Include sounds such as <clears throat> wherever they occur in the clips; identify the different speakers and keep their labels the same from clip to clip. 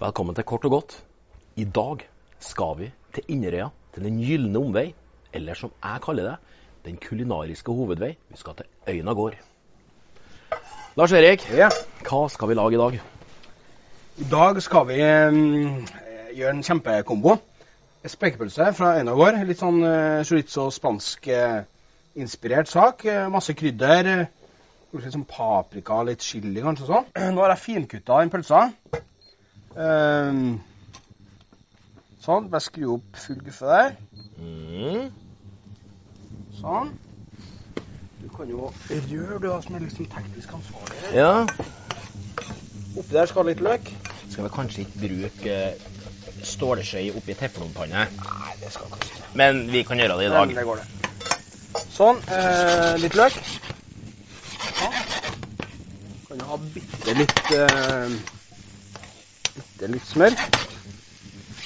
Speaker 1: Velkommen til Kort og godt. I dag skal vi til Inderøya, til Den gylne omvei, eller som jeg kaller det, Den kulinariske hovedvei. Vi skal til Øyna gård. Lars Erik,
Speaker 2: Ja,
Speaker 1: hva skal vi lage i dag?
Speaker 2: I dag skal vi mm, gjøre en kjempekombo. Spekepølse fra Øyna gård. Litt sånn uh, chorizo-spansk-inspirert eh, sak. eh, masse krydder. eh, kanskje litt sånn paprika, litt chili kanskje og sånn. <clears throat> Nå har jeg finkutta den pølsa. Ehm, sånn. Bare skru opp full guffe der.
Speaker 1: Mm.
Speaker 2: Sånn. Du kan jo røre, du, da, som er liksom teknisk ansvarlig.
Speaker 1: Ja.
Speaker 2: Oppi der skal litt løk.
Speaker 1: Skal vi kanskje ikke bruke eh, stålskje oppi teflonpanne,
Speaker 2: Nei, det skal kanskje
Speaker 1: men vi kan gjøre det i
Speaker 2: Men
Speaker 1: dag.
Speaker 2: Det går det. Sånn. Eh, litt løk. Sånn. Kan jo ha bitte litt eh, Bitte litt smør.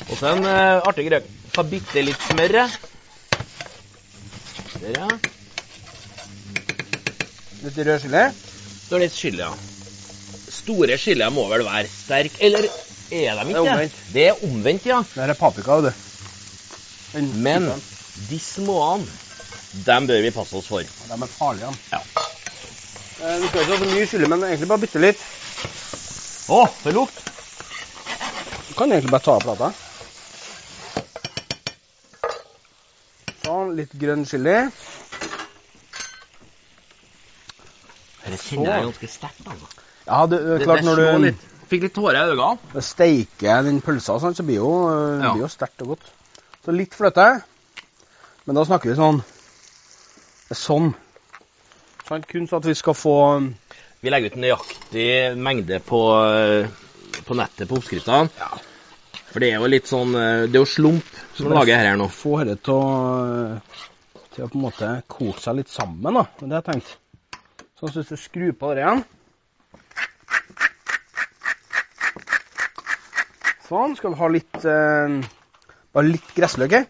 Speaker 1: Og så en eh, artig greie. Ta bitte litt smør. eh. Der, ja.
Speaker 2: Litt rød chili.
Speaker 1: Så er det litt chili, ja. Store chilier må vel være sterke, eller er de
Speaker 2: Det er
Speaker 1: ikke?
Speaker 2: omvendt.
Speaker 1: Det er omvendt, ja.
Speaker 2: Det her er paprika, vet du. Den
Speaker 1: Men
Speaker 2: typen,
Speaker 1: de småene, dem bør vi passe oss for.
Speaker 2: De er farlige, de.
Speaker 1: Ja.
Speaker 2: Eh, du skal ikke ha så mye chili, men egentlig bare bitte litt.
Speaker 1: Å, for lukt!
Speaker 2: Du kan egentlig bare ta av plata. Sånn. Litt grønn chili.
Speaker 1: Dette kjenner jeg ganske sterkt, altså.
Speaker 2: Ja, det, det er klart
Speaker 1: det
Speaker 2: når
Speaker 1: slår
Speaker 2: du
Speaker 1: litt. Fikk litt tårer i øynene.
Speaker 2: Det steiker den pølsa, og sånt, så blir jo, øh,
Speaker 1: Ja.
Speaker 2: blir jo sterkt og godt. Så litt fløte, men da snakker vi sånn Sånn. sånn kun så at vi skal få um,
Speaker 1: Vi legger ut nøyaktig mengde på, eh, på nettet på oppskriftene.
Speaker 2: Ja.
Speaker 1: For det er jo litt sånn eh, Det er jo slump som
Speaker 2: Men-
Speaker 1: lager her nå.
Speaker 2: Få dette til å uh, til å på en måte koke seg litt sammen, da. Det er det jeg tenkte. Sånn at hvis du skrur på det igjen Sånn. Skal vi ha litt øh, Bare litt gressløk i.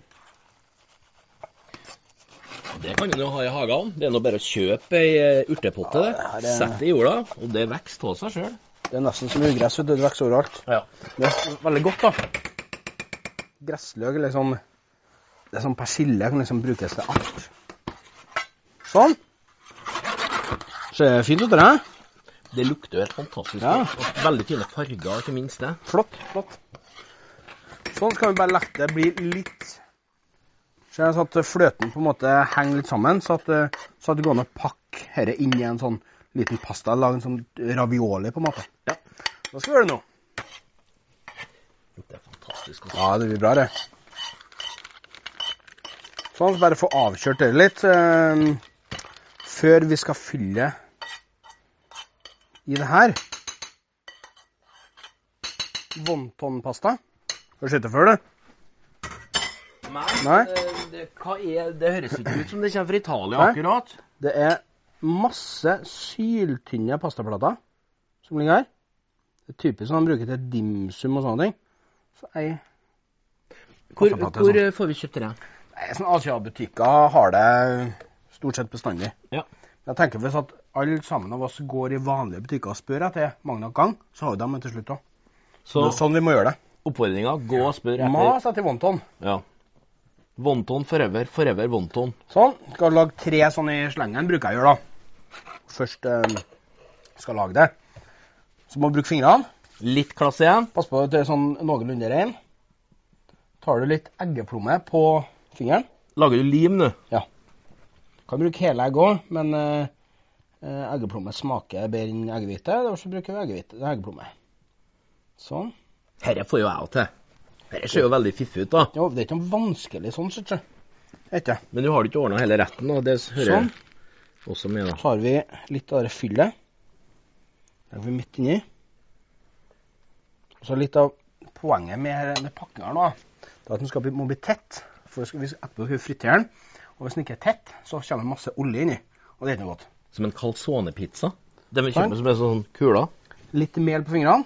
Speaker 1: Det kan en jo ha i hagen. Det er nå bare å kjøpe ei eh, urtepotte.
Speaker 2: Ja,
Speaker 1: det.
Speaker 2: det her er-
Speaker 1: Sett det i jorda, og det vokser av seg sjøl.
Speaker 2: Det er nesten som ugress. vet du, Det vokser overalt.
Speaker 1: Ja.
Speaker 2: Det er veldig godt, da. Gressløk eller sånn Det er sånn persille kan liksom brukes til alt. Sånn. Ser fint ut, det der.
Speaker 1: Det lukter jo helt fantastisk.
Speaker 2: Ja.
Speaker 1: godt, og Veldig fine farger, ikke minst det.
Speaker 2: Flott. flott. Sånn skal vi bare la det bli litt Ser jeg så at fløten på en måte henger litt sammen, så at, eh, så at det går an å pakke dette inn i en sånn liten pasta. Lage en sånn ravioli, på en måte.
Speaker 1: Ja.
Speaker 2: Da skal vi gjøre det nå.
Speaker 1: Det er fantastisk. godt.
Speaker 2: Ja, det blir bra, det. Sånn, så bare få avkjørt det litt eh, før vi skal fylle i det her. Wonton-pasta. Har du sett det før, du? Nei.
Speaker 1: eh, Det, hva er, det høres ikke ut som det kommer fra Italia
Speaker 2: Nei.
Speaker 1: akkurat.
Speaker 2: Det er masse syltynne pastaplater som ligger her. Det er typisk sånn man bruker til dimsum og sånne ting. Så ei
Speaker 1: Hvor,
Speaker 2: Pastaplate,
Speaker 1: hvor
Speaker 2: sånn.
Speaker 1: eh, får vi kjøpt det?
Speaker 2: Nei, sånn Asia-butikker har det stort sett bestandig.
Speaker 1: Ja.
Speaker 2: Men Jeg tenker hvis at alle sammen av oss går i vanlige butikker og spør etter mange nok gang, så har jo de en til slutt òg.
Speaker 1: Så
Speaker 2: Sånn vi må gjøre det.
Speaker 1: oppfordringa, gå og spør etter.
Speaker 2: Mas etter wonton.
Speaker 1: Ja. Wonton forever, forever wonton.
Speaker 2: Sånn. Skal lage tre sånne i slengen, bruker jeg å gjøre, da. Først eh, skal lage det. Så må du bruke fingrene.
Speaker 1: Litt klasse igjen.
Speaker 2: Pass på at det er sånn noenlunde rein. Tar du litt eggeplomme på fingeren.
Speaker 1: Lager du lim nå?
Speaker 2: Kan bruke hele egg òg, men eh, eh, eggeplomme smaker bedre enn eggehvite. Derfor bruker vi eggehvite, eggeplomme. Sånn.
Speaker 1: Dette får jo jeg til. Dette ser jo veldig fiffig ut, da.
Speaker 2: Jo, det er ikke noe vanskelig sånn, syns jeg. Vet du.
Speaker 1: Men du har ikke ordna hele retten, og det hører
Speaker 2: Sånn.
Speaker 1: sånn. også med. da.
Speaker 2: Så har vi litt av det fyllet. Det legger vi midt inni. Og så litt av poenget med, med pakkinga her nå, det er at den skal bli, må bli tett. For det skal, hvis etterpå skal vi fritere den, og hvis den ikke er tett, så kommer det masse olje inni. Og det er ikke noe godt.
Speaker 1: Som en calzone-pizza. Den vi
Speaker 2: Sant.
Speaker 1: kjøper som er sånn kula.
Speaker 2: Litt mel på fingrene.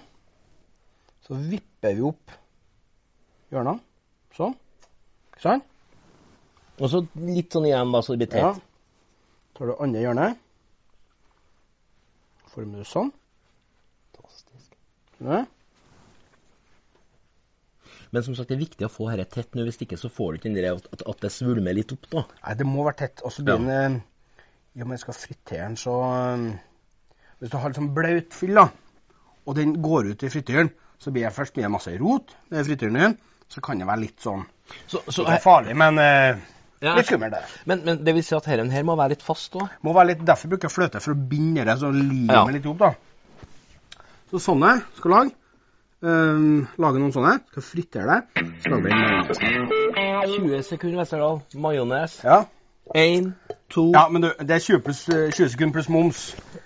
Speaker 2: Så vipper vi opp hjørnene. Sånn. Ikke sant?
Speaker 1: Og så litt sånn igjen, da, så det blir
Speaker 2: Ja.
Speaker 1: tett.
Speaker 2: Tar du andre hjørnet. Former du sånn.
Speaker 1: Fantastisk.
Speaker 2: Ja.
Speaker 1: Men som sagt, det er viktig å få dette tett nå. Hvis ikke så får du ikke den der at, at- at det svulmer litt opp, da.
Speaker 2: Nei, det må være tett. Og så blir den eh, I og med jeg skal fritere den, så eh, Hvis du har litt sånn blaut fyll, da, og den går ut i fritøren, så blir jeg først blir det masse rot nedi fritøren din. Så kan det være litt sånn
Speaker 1: Så, så,
Speaker 2: Ikke farlig, men eh,
Speaker 1: Ja.
Speaker 2: litt skummelt. det.
Speaker 1: men, men det vil si at denne her må være litt fast òg.
Speaker 2: Må være litt, Derfor bruker jeg fløte, for å binde det så limer
Speaker 1: Ja.
Speaker 2: litt opp. da. Så sånne skal du lage. Ehm, lage noen sånne. Skal fritere det. Så lager vi en majones.
Speaker 1: 20 sekunder Westerdal. Majones.
Speaker 2: ja.
Speaker 1: Én, to
Speaker 2: ja, men du, det er 20, pluss, eh, 20 sekunder pluss moms.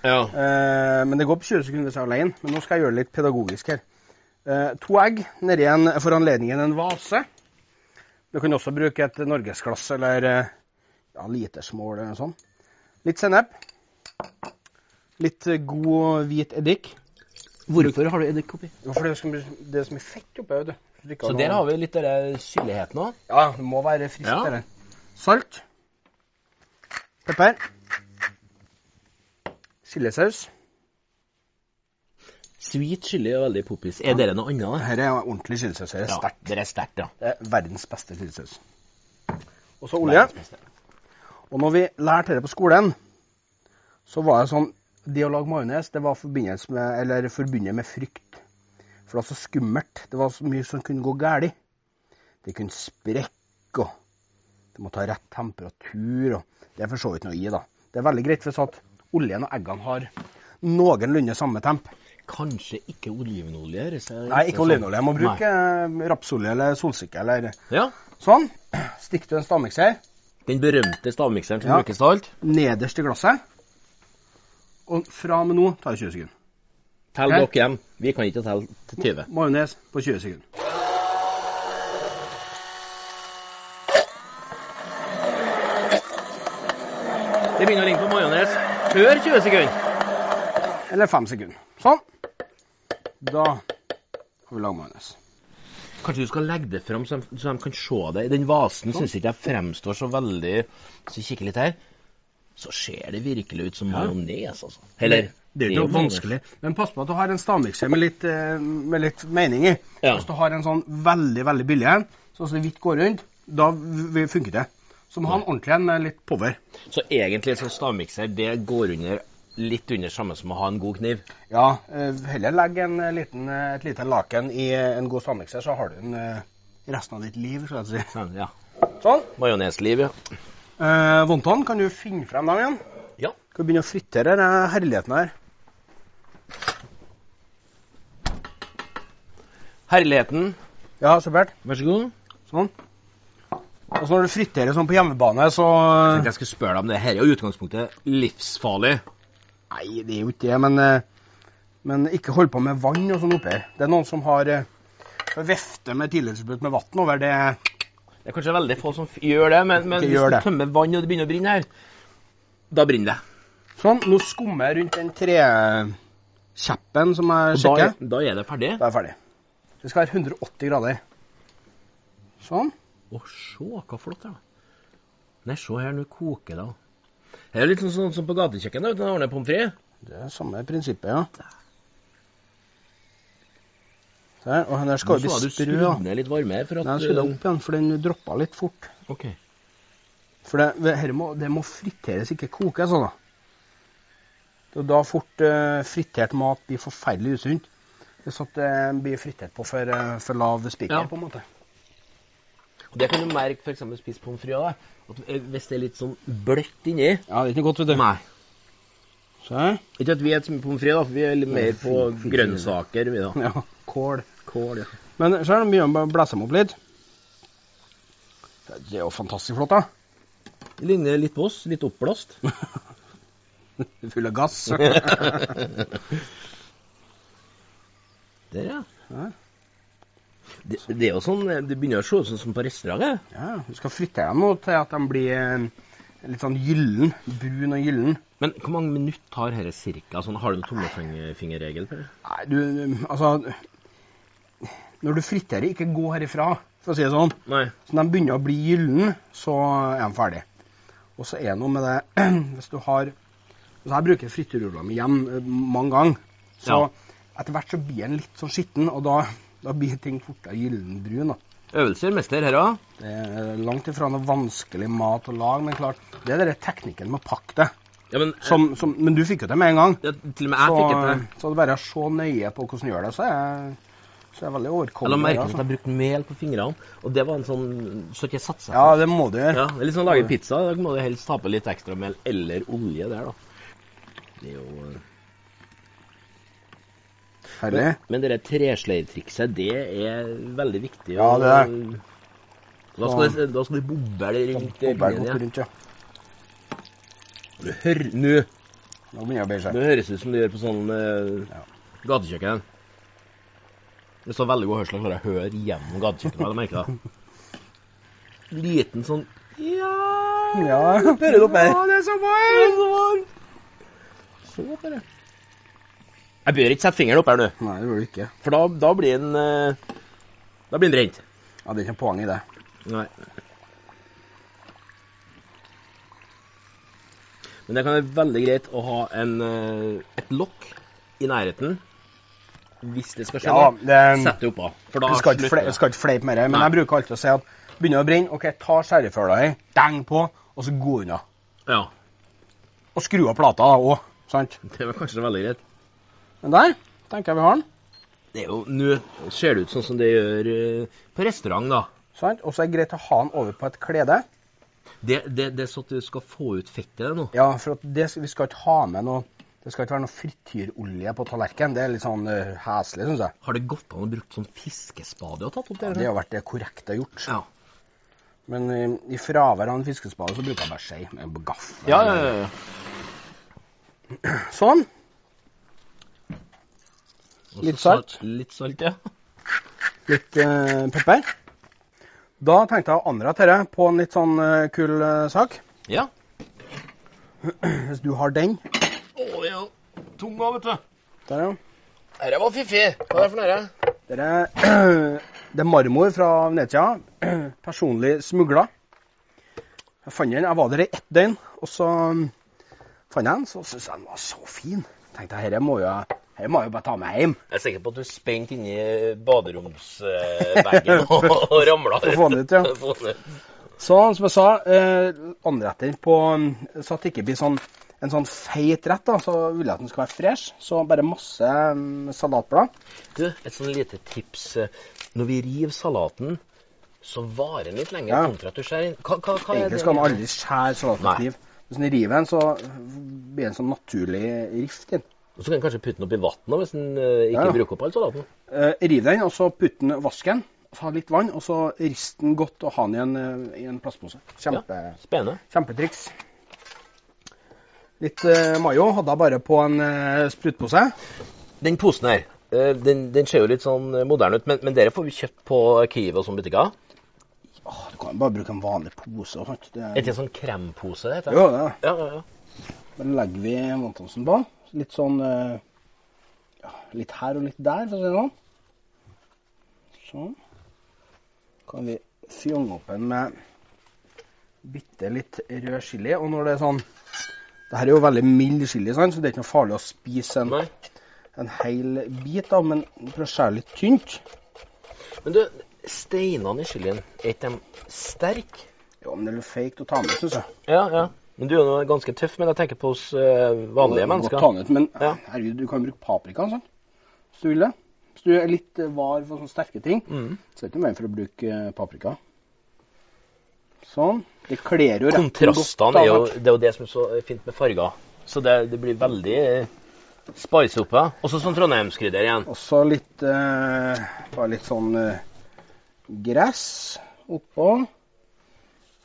Speaker 1: Ja.
Speaker 2: Eh, men det går på 20 sekunder hvis jeg er alene. Men nå skal jeg gjøre det litt pedagogisk her. Eh, to egg nedi en, for anledningen en vase. Du kan også bruke et norgesglass eller eh, ja, litersmål eller sånn. Litt sennep. Litt eh, god hvit eddik.
Speaker 1: Hvorfor har du eddik oppi?
Speaker 2: Jo, for det er så mye- det er så mye fett oppi her, vet du. Så det ikke
Speaker 1: Så
Speaker 2: har
Speaker 1: der
Speaker 2: noe-
Speaker 1: har vi litt av den syrligheten òg.
Speaker 2: Ja, det må være friskt,
Speaker 1: Ja.
Speaker 2: det der. Salt. Pepper. Chilisaus.
Speaker 1: Sweet chili er veldig poppis. Er dere noe annet? da?
Speaker 2: Dette er ordentlig chilisaus. Det er
Speaker 1: Ja,
Speaker 2: sterkt.
Speaker 1: Dere er sterkt, ja.
Speaker 2: Det er verdens beste chilisaus. Og så olje. Og når vi lærte dette på skolen, så var det sånn Det å lage majones det var forbindelse med, eller forbundet med frykt. For det var så skummelt. Det var så mye som kunne gå galt. Det kunne sprekke, og det måtte ha rett temperatur. og Det er for så vidt noe i, da. Det er veldig greit hvis at oljen og eggene har noenlunde samme temp.
Speaker 1: Kanskje ikke olivenolje? hvis jeg-
Speaker 2: Nei, ikke olivenolje. Jeg må
Speaker 1: Sånn. Nei.
Speaker 2: bruke eh, rapsolje eller solsikke eller
Speaker 1: Ja,
Speaker 2: sånn. Stikk du en stavmikser
Speaker 1: Den berømte stavmikseren som
Speaker 2: Ja.
Speaker 1: brukes til alt.
Speaker 2: nederst i glasset. Og fra og med nå tar det 20 sekunder.
Speaker 1: Tell
Speaker 2: Ok.
Speaker 1: dere hjem. Vi kan ikke telle til 20.
Speaker 2: Majones på 20 sekunder.
Speaker 1: Det begynner å ringe på majones før 20 sekunder.
Speaker 2: Eller 5 sekunder. Sånn. Da har vi laget majones.
Speaker 1: Kanskje du skal legge det fram så de, så de kan se det. I den
Speaker 2: Sånn.
Speaker 1: vasen syns ikke jeg fremstår så veldig Hvis vi kikker litt her, så ser det virkelig ut som majones, altså. Eller
Speaker 2: Det er jo ikke noe
Speaker 1: majones.
Speaker 2: vanskelig. Men pass på at du har en stavmikser med litt, eh, med litt mening i.
Speaker 1: Ja.
Speaker 2: Hvis du har en sånn veldig, veldig billig en, sånn som det hvitt går rundt, da v- v- funker det. Så må du ha en ordentlig en med litt power.
Speaker 1: Så egentlig så stavmikser det går under litt under samme som å ha en god kniv.
Speaker 2: Ja, eh, heller legg en eh, liten, eh, et lite laken i eh, en god stavmikser, så har du den eh, resten av ditt liv, skal jeg si.
Speaker 1: Ja.
Speaker 2: Sånn.
Speaker 1: Majonesliv, ja.
Speaker 2: Eh, Wonton, kan du finne frem dem igjen?
Speaker 1: Ja.
Speaker 2: Skal vi begynne å fritere denne herligheten her?
Speaker 1: Herligheten.
Speaker 2: Ja, supert.
Speaker 1: Vær så god.
Speaker 2: Sånn. Og så når du friterer sånn på hjemmebane, så eh,
Speaker 1: tenkte jeg skulle spørre deg om det. Her er jo i utgangspunktet livsfarlig.
Speaker 2: Nei, det er jo ikke det, men, eh, men ikke hold på med vann og sånn oppi her. Det er noen som har eh, vefte med tilleggsbruk med vann over det.
Speaker 1: Det er kanskje veldig få som f- gjør det, men, men
Speaker 2: Ikke
Speaker 1: hvis
Speaker 2: gjør
Speaker 1: du
Speaker 2: det.
Speaker 1: tømmer vann og det begynner å brenne her, da brenner det.
Speaker 2: Sånn. Nå skummer jeg rundt den trekjeppen som jeg
Speaker 1: Og da,
Speaker 2: sjekker.
Speaker 1: da er det ferdig.
Speaker 2: Da er jeg ferdig. Det skal være 180 grader. Sånn.
Speaker 1: Å, se hva flott det er. Nei, se her, nå koker det. Det er litt sånn, sånn som på gatekjøkkenet, uten å ordne pommes frites.
Speaker 2: Det er samme prinsippet, ja. Der, og den der skal jo eh,
Speaker 1: Nå så jeg
Speaker 2: bli sprø.
Speaker 1: Du
Speaker 2: da.
Speaker 1: skrudde ned litt varmere for at eh,
Speaker 2: Nei, den skulle opp igjen, for den droppa litt fort.
Speaker 1: OK.
Speaker 2: For det, det, her må, det må friteres, ikke kokes. Sånn, da. Det er da fort eh, fritert mat blir forferdelig usunt. Hvis at det blir fritert på for, eh, for lav spiker,
Speaker 1: Ja.
Speaker 2: på en måte.
Speaker 1: Og Det kan du merke f.eks. spise pommes frites av. At eh, hvis det er litt sånn bløtt inni
Speaker 2: Ja, det er ikke noe godt, vet
Speaker 1: Nei.
Speaker 2: Se her.
Speaker 1: Ikke at vi spiser pommes frites, da, for vi er litt mer på
Speaker 2: Fy- fy-
Speaker 1: grønnsaker. vi da.
Speaker 2: Ja, kål.
Speaker 1: Kål, ja.
Speaker 2: Men se her, nå begynner den å blæse dem opp litt. Det er jo fantastisk flott, da.
Speaker 1: Det ligner litt på oss. Litt oppblåst.
Speaker 2: Full av gass. <laughs>
Speaker 1: Der, ja.
Speaker 2: Ja.
Speaker 1: Det, det er jo sånn, eh, det begynner å se ut sånn som på restaurant.
Speaker 2: Ja, du skal fritte dem nå til at de blir eh, litt sånn gyllen. Brun og gyllen.
Speaker 1: Men hvor mange minutter tar dette cirka? Sånn, har du en tommelfingerregel? Per?
Speaker 2: Nei, du, altså Når du friterer, ikke gå herifra, for å si det sånn.
Speaker 1: Nei.
Speaker 2: Så når de begynner å bli gyllen, så er de ferdig. Og så er det noe med det <clears throat> Hvis du har Så jeg bruker frityrruller med igjen eh, mange ganger. Så
Speaker 1: Ja.
Speaker 2: etter hvert så blir den litt sånn skitten, og da, da blir ting fortere gyllenbrun. da.
Speaker 1: Øvelser, mester, her òg?
Speaker 2: Det er langt ifra noe vanskelig mat å lage, men klart, det er den teknikken med å pakke det.
Speaker 1: Ja, men,
Speaker 2: Som, som, men du fikk jo det med en gang.
Speaker 1: ja, til og med jeg
Speaker 2: Så, eh,
Speaker 1: fikk eh, etter.
Speaker 2: så det er bare å se nøye på hvordan du gjør det, så er, så er det veldig
Speaker 1: Jeg la
Speaker 2: overkommelig.
Speaker 1: merke til at
Speaker 2: altså.
Speaker 1: jeg brukte mel på fingrene, og det var en sånn Så ikke jeg satsa.
Speaker 2: Ja, det må du gjøre.
Speaker 1: Ja, det er litt sånn å lage pizza. Da må du helst ta på litt ekstra mel eller olje der, da. Det er jo... eh,
Speaker 2: Herlig.
Speaker 1: Men det der tresleiertrikset, det er veldig viktig.
Speaker 2: Ja,
Speaker 1: og-
Speaker 2: det er
Speaker 1: Da skal, det, da skal det boble rundt ringene,
Speaker 2: Bobberen går
Speaker 1: ja.
Speaker 2: rundt, ja.
Speaker 1: Du hører- Nå
Speaker 2: Nå begynner det å bli
Speaker 1: nå
Speaker 2: seg.
Speaker 1: høres det ut som du gjør på sånn eh,
Speaker 2: Ja.
Speaker 1: gatekjøkken. Hvis du har veldig god hørsel, klarer jeg å høre gjennom gatekjøkkenet. Jeg merker <laughs> det. Liten sånn Ja,
Speaker 2: Ja, hører du opp her?
Speaker 1: Ja, det er så varmt! Så opp her, jeg. Jeg bør ikke sette fingeren opp her nå,
Speaker 2: Nei, det burde du ikke.
Speaker 1: for da, da blir den eh, Da blir den brent.
Speaker 2: Ja, Det er ikke noe poeng i det.
Speaker 1: Nei. Men det kan være veldig greit å ha en, eh, et lokk i nærheten hvis det skal skje.
Speaker 2: Ja,
Speaker 1: noe.
Speaker 2: det-
Speaker 1: Sett det oppå. For da
Speaker 2: Du skal ikke,
Speaker 1: slutter
Speaker 2: fle
Speaker 1: det.
Speaker 2: skal ikke fleipe med det, men
Speaker 1: Nei.
Speaker 2: jeg bruker alltid å si at begynner det å brenne, OK, ta skjæreføla i, deng på, og så gå unna.
Speaker 1: Ja,
Speaker 2: Og skru av plata da òg, sant?
Speaker 1: det var kanskje veldig greit.
Speaker 2: Men der tenker jeg vi har den.
Speaker 1: Det er jo, Nå ser det ut sånn som det gjør eh, på restaurant, da.
Speaker 2: sant? Og så er det greit å ha den over på et klede.
Speaker 1: Det, det, det er sånn at du skal få ut fettet nå.
Speaker 2: Ja, for at det, vi skal ikke ha med noe Det skal ikke være noe frityrolje på tallerkenen. Det er litt sånn eh, heslig, syns jeg.
Speaker 1: Har det gått an å bruke sånn fiskespade og tatt opp
Speaker 2: Ja,
Speaker 1: det?
Speaker 2: det har vært det korrekte gjort.
Speaker 1: ja.
Speaker 2: Men i, i fravær av en fiskespade så bruker jeg bare skei med gaffel.
Speaker 1: Ja, ja, ja, ja.
Speaker 2: Sånn.
Speaker 1: Og så
Speaker 2: Litt salt.
Speaker 1: Litt salt, ja.
Speaker 2: litt eh, pepper. Da tenkte jeg å anrette dette på en litt sånn eh, kul eh, sak.
Speaker 1: Ja.
Speaker 2: <clears throat> Hvis du har den
Speaker 1: Å, det er jo tunga, vet du.
Speaker 2: der, ja.
Speaker 1: Dette var fiffig. Hva er det for noe?
Speaker 2: Dere, det er <clears throat> marmor fra Venezia. <clears throat> Personlig smugla. Jeg fant den, jeg var der i ett døgn, og så um, fant jeg den. Så syntes jeg den var så fin. Tenkte jeg, dette må jo dette må jeg jo bare ta med hjem.
Speaker 1: Jeg er sikker på at du spente inni baderomsveggen og ramla
Speaker 2: For å få den ut, ja.
Speaker 1: Få den ut.
Speaker 2: Så som jeg sa, eh, anrett den på um, så at det ikke blir sånn, en sånn feit rett. da, Så vil jeg at den skal være fresh. Så bare masse mm, salatblad.
Speaker 1: Du, et sånn lite tips. Når vi river salaten, så varer den litt lenger
Speaker 2: Ja.
Speaker 1: kontra at du skjærer inn. Hva, hva, hva er
Speaker 2: Egentlig
Speaker 1: det?
Speaker 2: skal man aldri skjære salaten
Speaker 1: Nei.
Speaker 2: med kniv. Hvis den river den, så blir det en sånn naturlig rift i den.
Speaker 1: Og Så kan du kanskje putte den oppi vannet hvis den eh, ikke
Speaker 2: Ja.
Speaker 1: bruker opp all salaten.
Speaker 2: Eh, riv den, og så putt den vask den. Ha litt vann, og så rist den godt og ha den i en, eh, i en plastpose. Kjempe,
Speaker 1: Spennende.
Speaker 2: Kjempetriks. Litt eh, mayo hadde jeg bare på en eh, sprutpose.
Speaker 1: Den posen her, eh, den, den ser jo litt sånn moderne ut, men, men dere får vi kjøpt på Kiwi og sånne butikker.
Speaker 2: Åh, du kan jo bare bruke en vanlig pose og sånt. Det,
Speaker 1: Er ikke det sånn krempose det heter?
Speaker 2: jo, det.
Speaker 1: Ja, ja, ja.
Speaker 2: Men legger vi wontonsen på. Litt sånn eh, ja, Litt her og litt der, for å si det sånn. Sånn. Kan vi fjonge opp den med bitte litt rød chili. Og når det er sånn det her er jo veldig mild chili, sant? så det er ikke noe farlig å spise en,
Speaker 1: Nei.
Speaker 2: en hel bit. da, Men prøv å skjære litt tynt.
Speaker 1: Men du, steinene i chilien, er ikke de sterke?
Speaker 2: Jo, men det er litt feigt å ta med, syns jeg.
Speaker 1: Ja, ja. Men du er jo ganske tøff, men jeg tenker på hos eh, vanlige
Speaker 2: Godt
Speaker 1: mennesker.
Speaker 2: ta den ut, men
Speaker 1: Ja.
Speaker 2: herregud, du kan jo bruke paprika sant? hvis du vil det. Hvis du er litt eh, var for sånne sterke ting.
Speaker 1: Mm.
Speaker 2: Så det er ikke noe veien for å bruke eh, paprika. Sånn. Det kler jo retten godt,
Speaker 1: Kontrastene
Speaker 2: da,
Speaker 1: er jo
Speaker 2: sant?
Speaker 1: det, er jo det som er så fint med farger. Så det, det blir veldig spice oppe. Også sånn Trondheimskrydder igjen.
Speaker 2: Også litt eh, Bare litt sånn eh, gress oppå.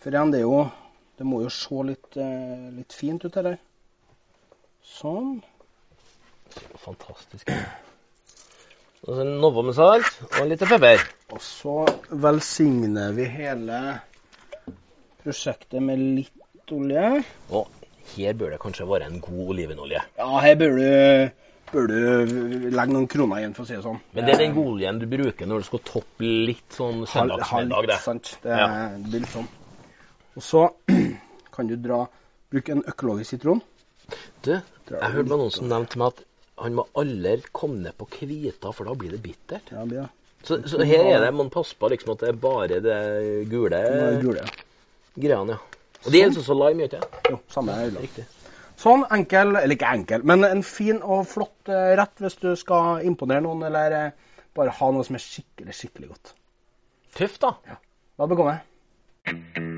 Speaker 2: For igjen, det er jo Det må jo se litt, eh, litt fint ut, det der. Sånn.
Speaker 1: Fantastisk. Og så Novo med salt og litt pepper.
Speaker 2: Og så velsigner vi hele prosjektet med litt Olive.
Speaker 1: Her bør det kanskje være en god olivenolje.
Speaker 2: Ja, her bør du, bør du legge noen kroner igjen, for å si det sånn.
Speaker 1: Men det er den gode oljen du bruker når du skal toppe litt sånn
Speaker 2: Halv- halv-
Speaker 1: søndagsmiddag. det.
Speaker 2: Sant. Det
Speaker 1: Ja.
Speaker 2: er- det blir litt sånn. Og så <clears throat> kan du dra, bruke en økologisk sitron.
Speaker 1: Du,
Speaker 2: Dra
Speaker 1: jeg
Speaker 2: den
Speaker 1: hørte
Speaker 2: litt,
Speaker 1: noen som nevnte meg at han må aldri komme ned på kvita, for da blir det bittert.
Speaker 2: Ja, det blir det.
Speaker 1: Så, så her er det, man passer på liksom at det er bare det gule
Speaker 2: Den er gul, Sånn. ja.
Speaker 1: greiene, ja. Og det er altså så lime, gjør det ikke?
Speaker 2: Jo, samme er øyla.
Speaker 1: Riktig.
Speaker 2: Sånn enkel, eller ikke enkel, men en fin og flott eh, rett hvis du skal imponere noen, eller eh, bare ha noe som er skikkelig, skikkelig godt.
Speaker 1: Tøft, da.
Speaker 2: Hva begår jeg?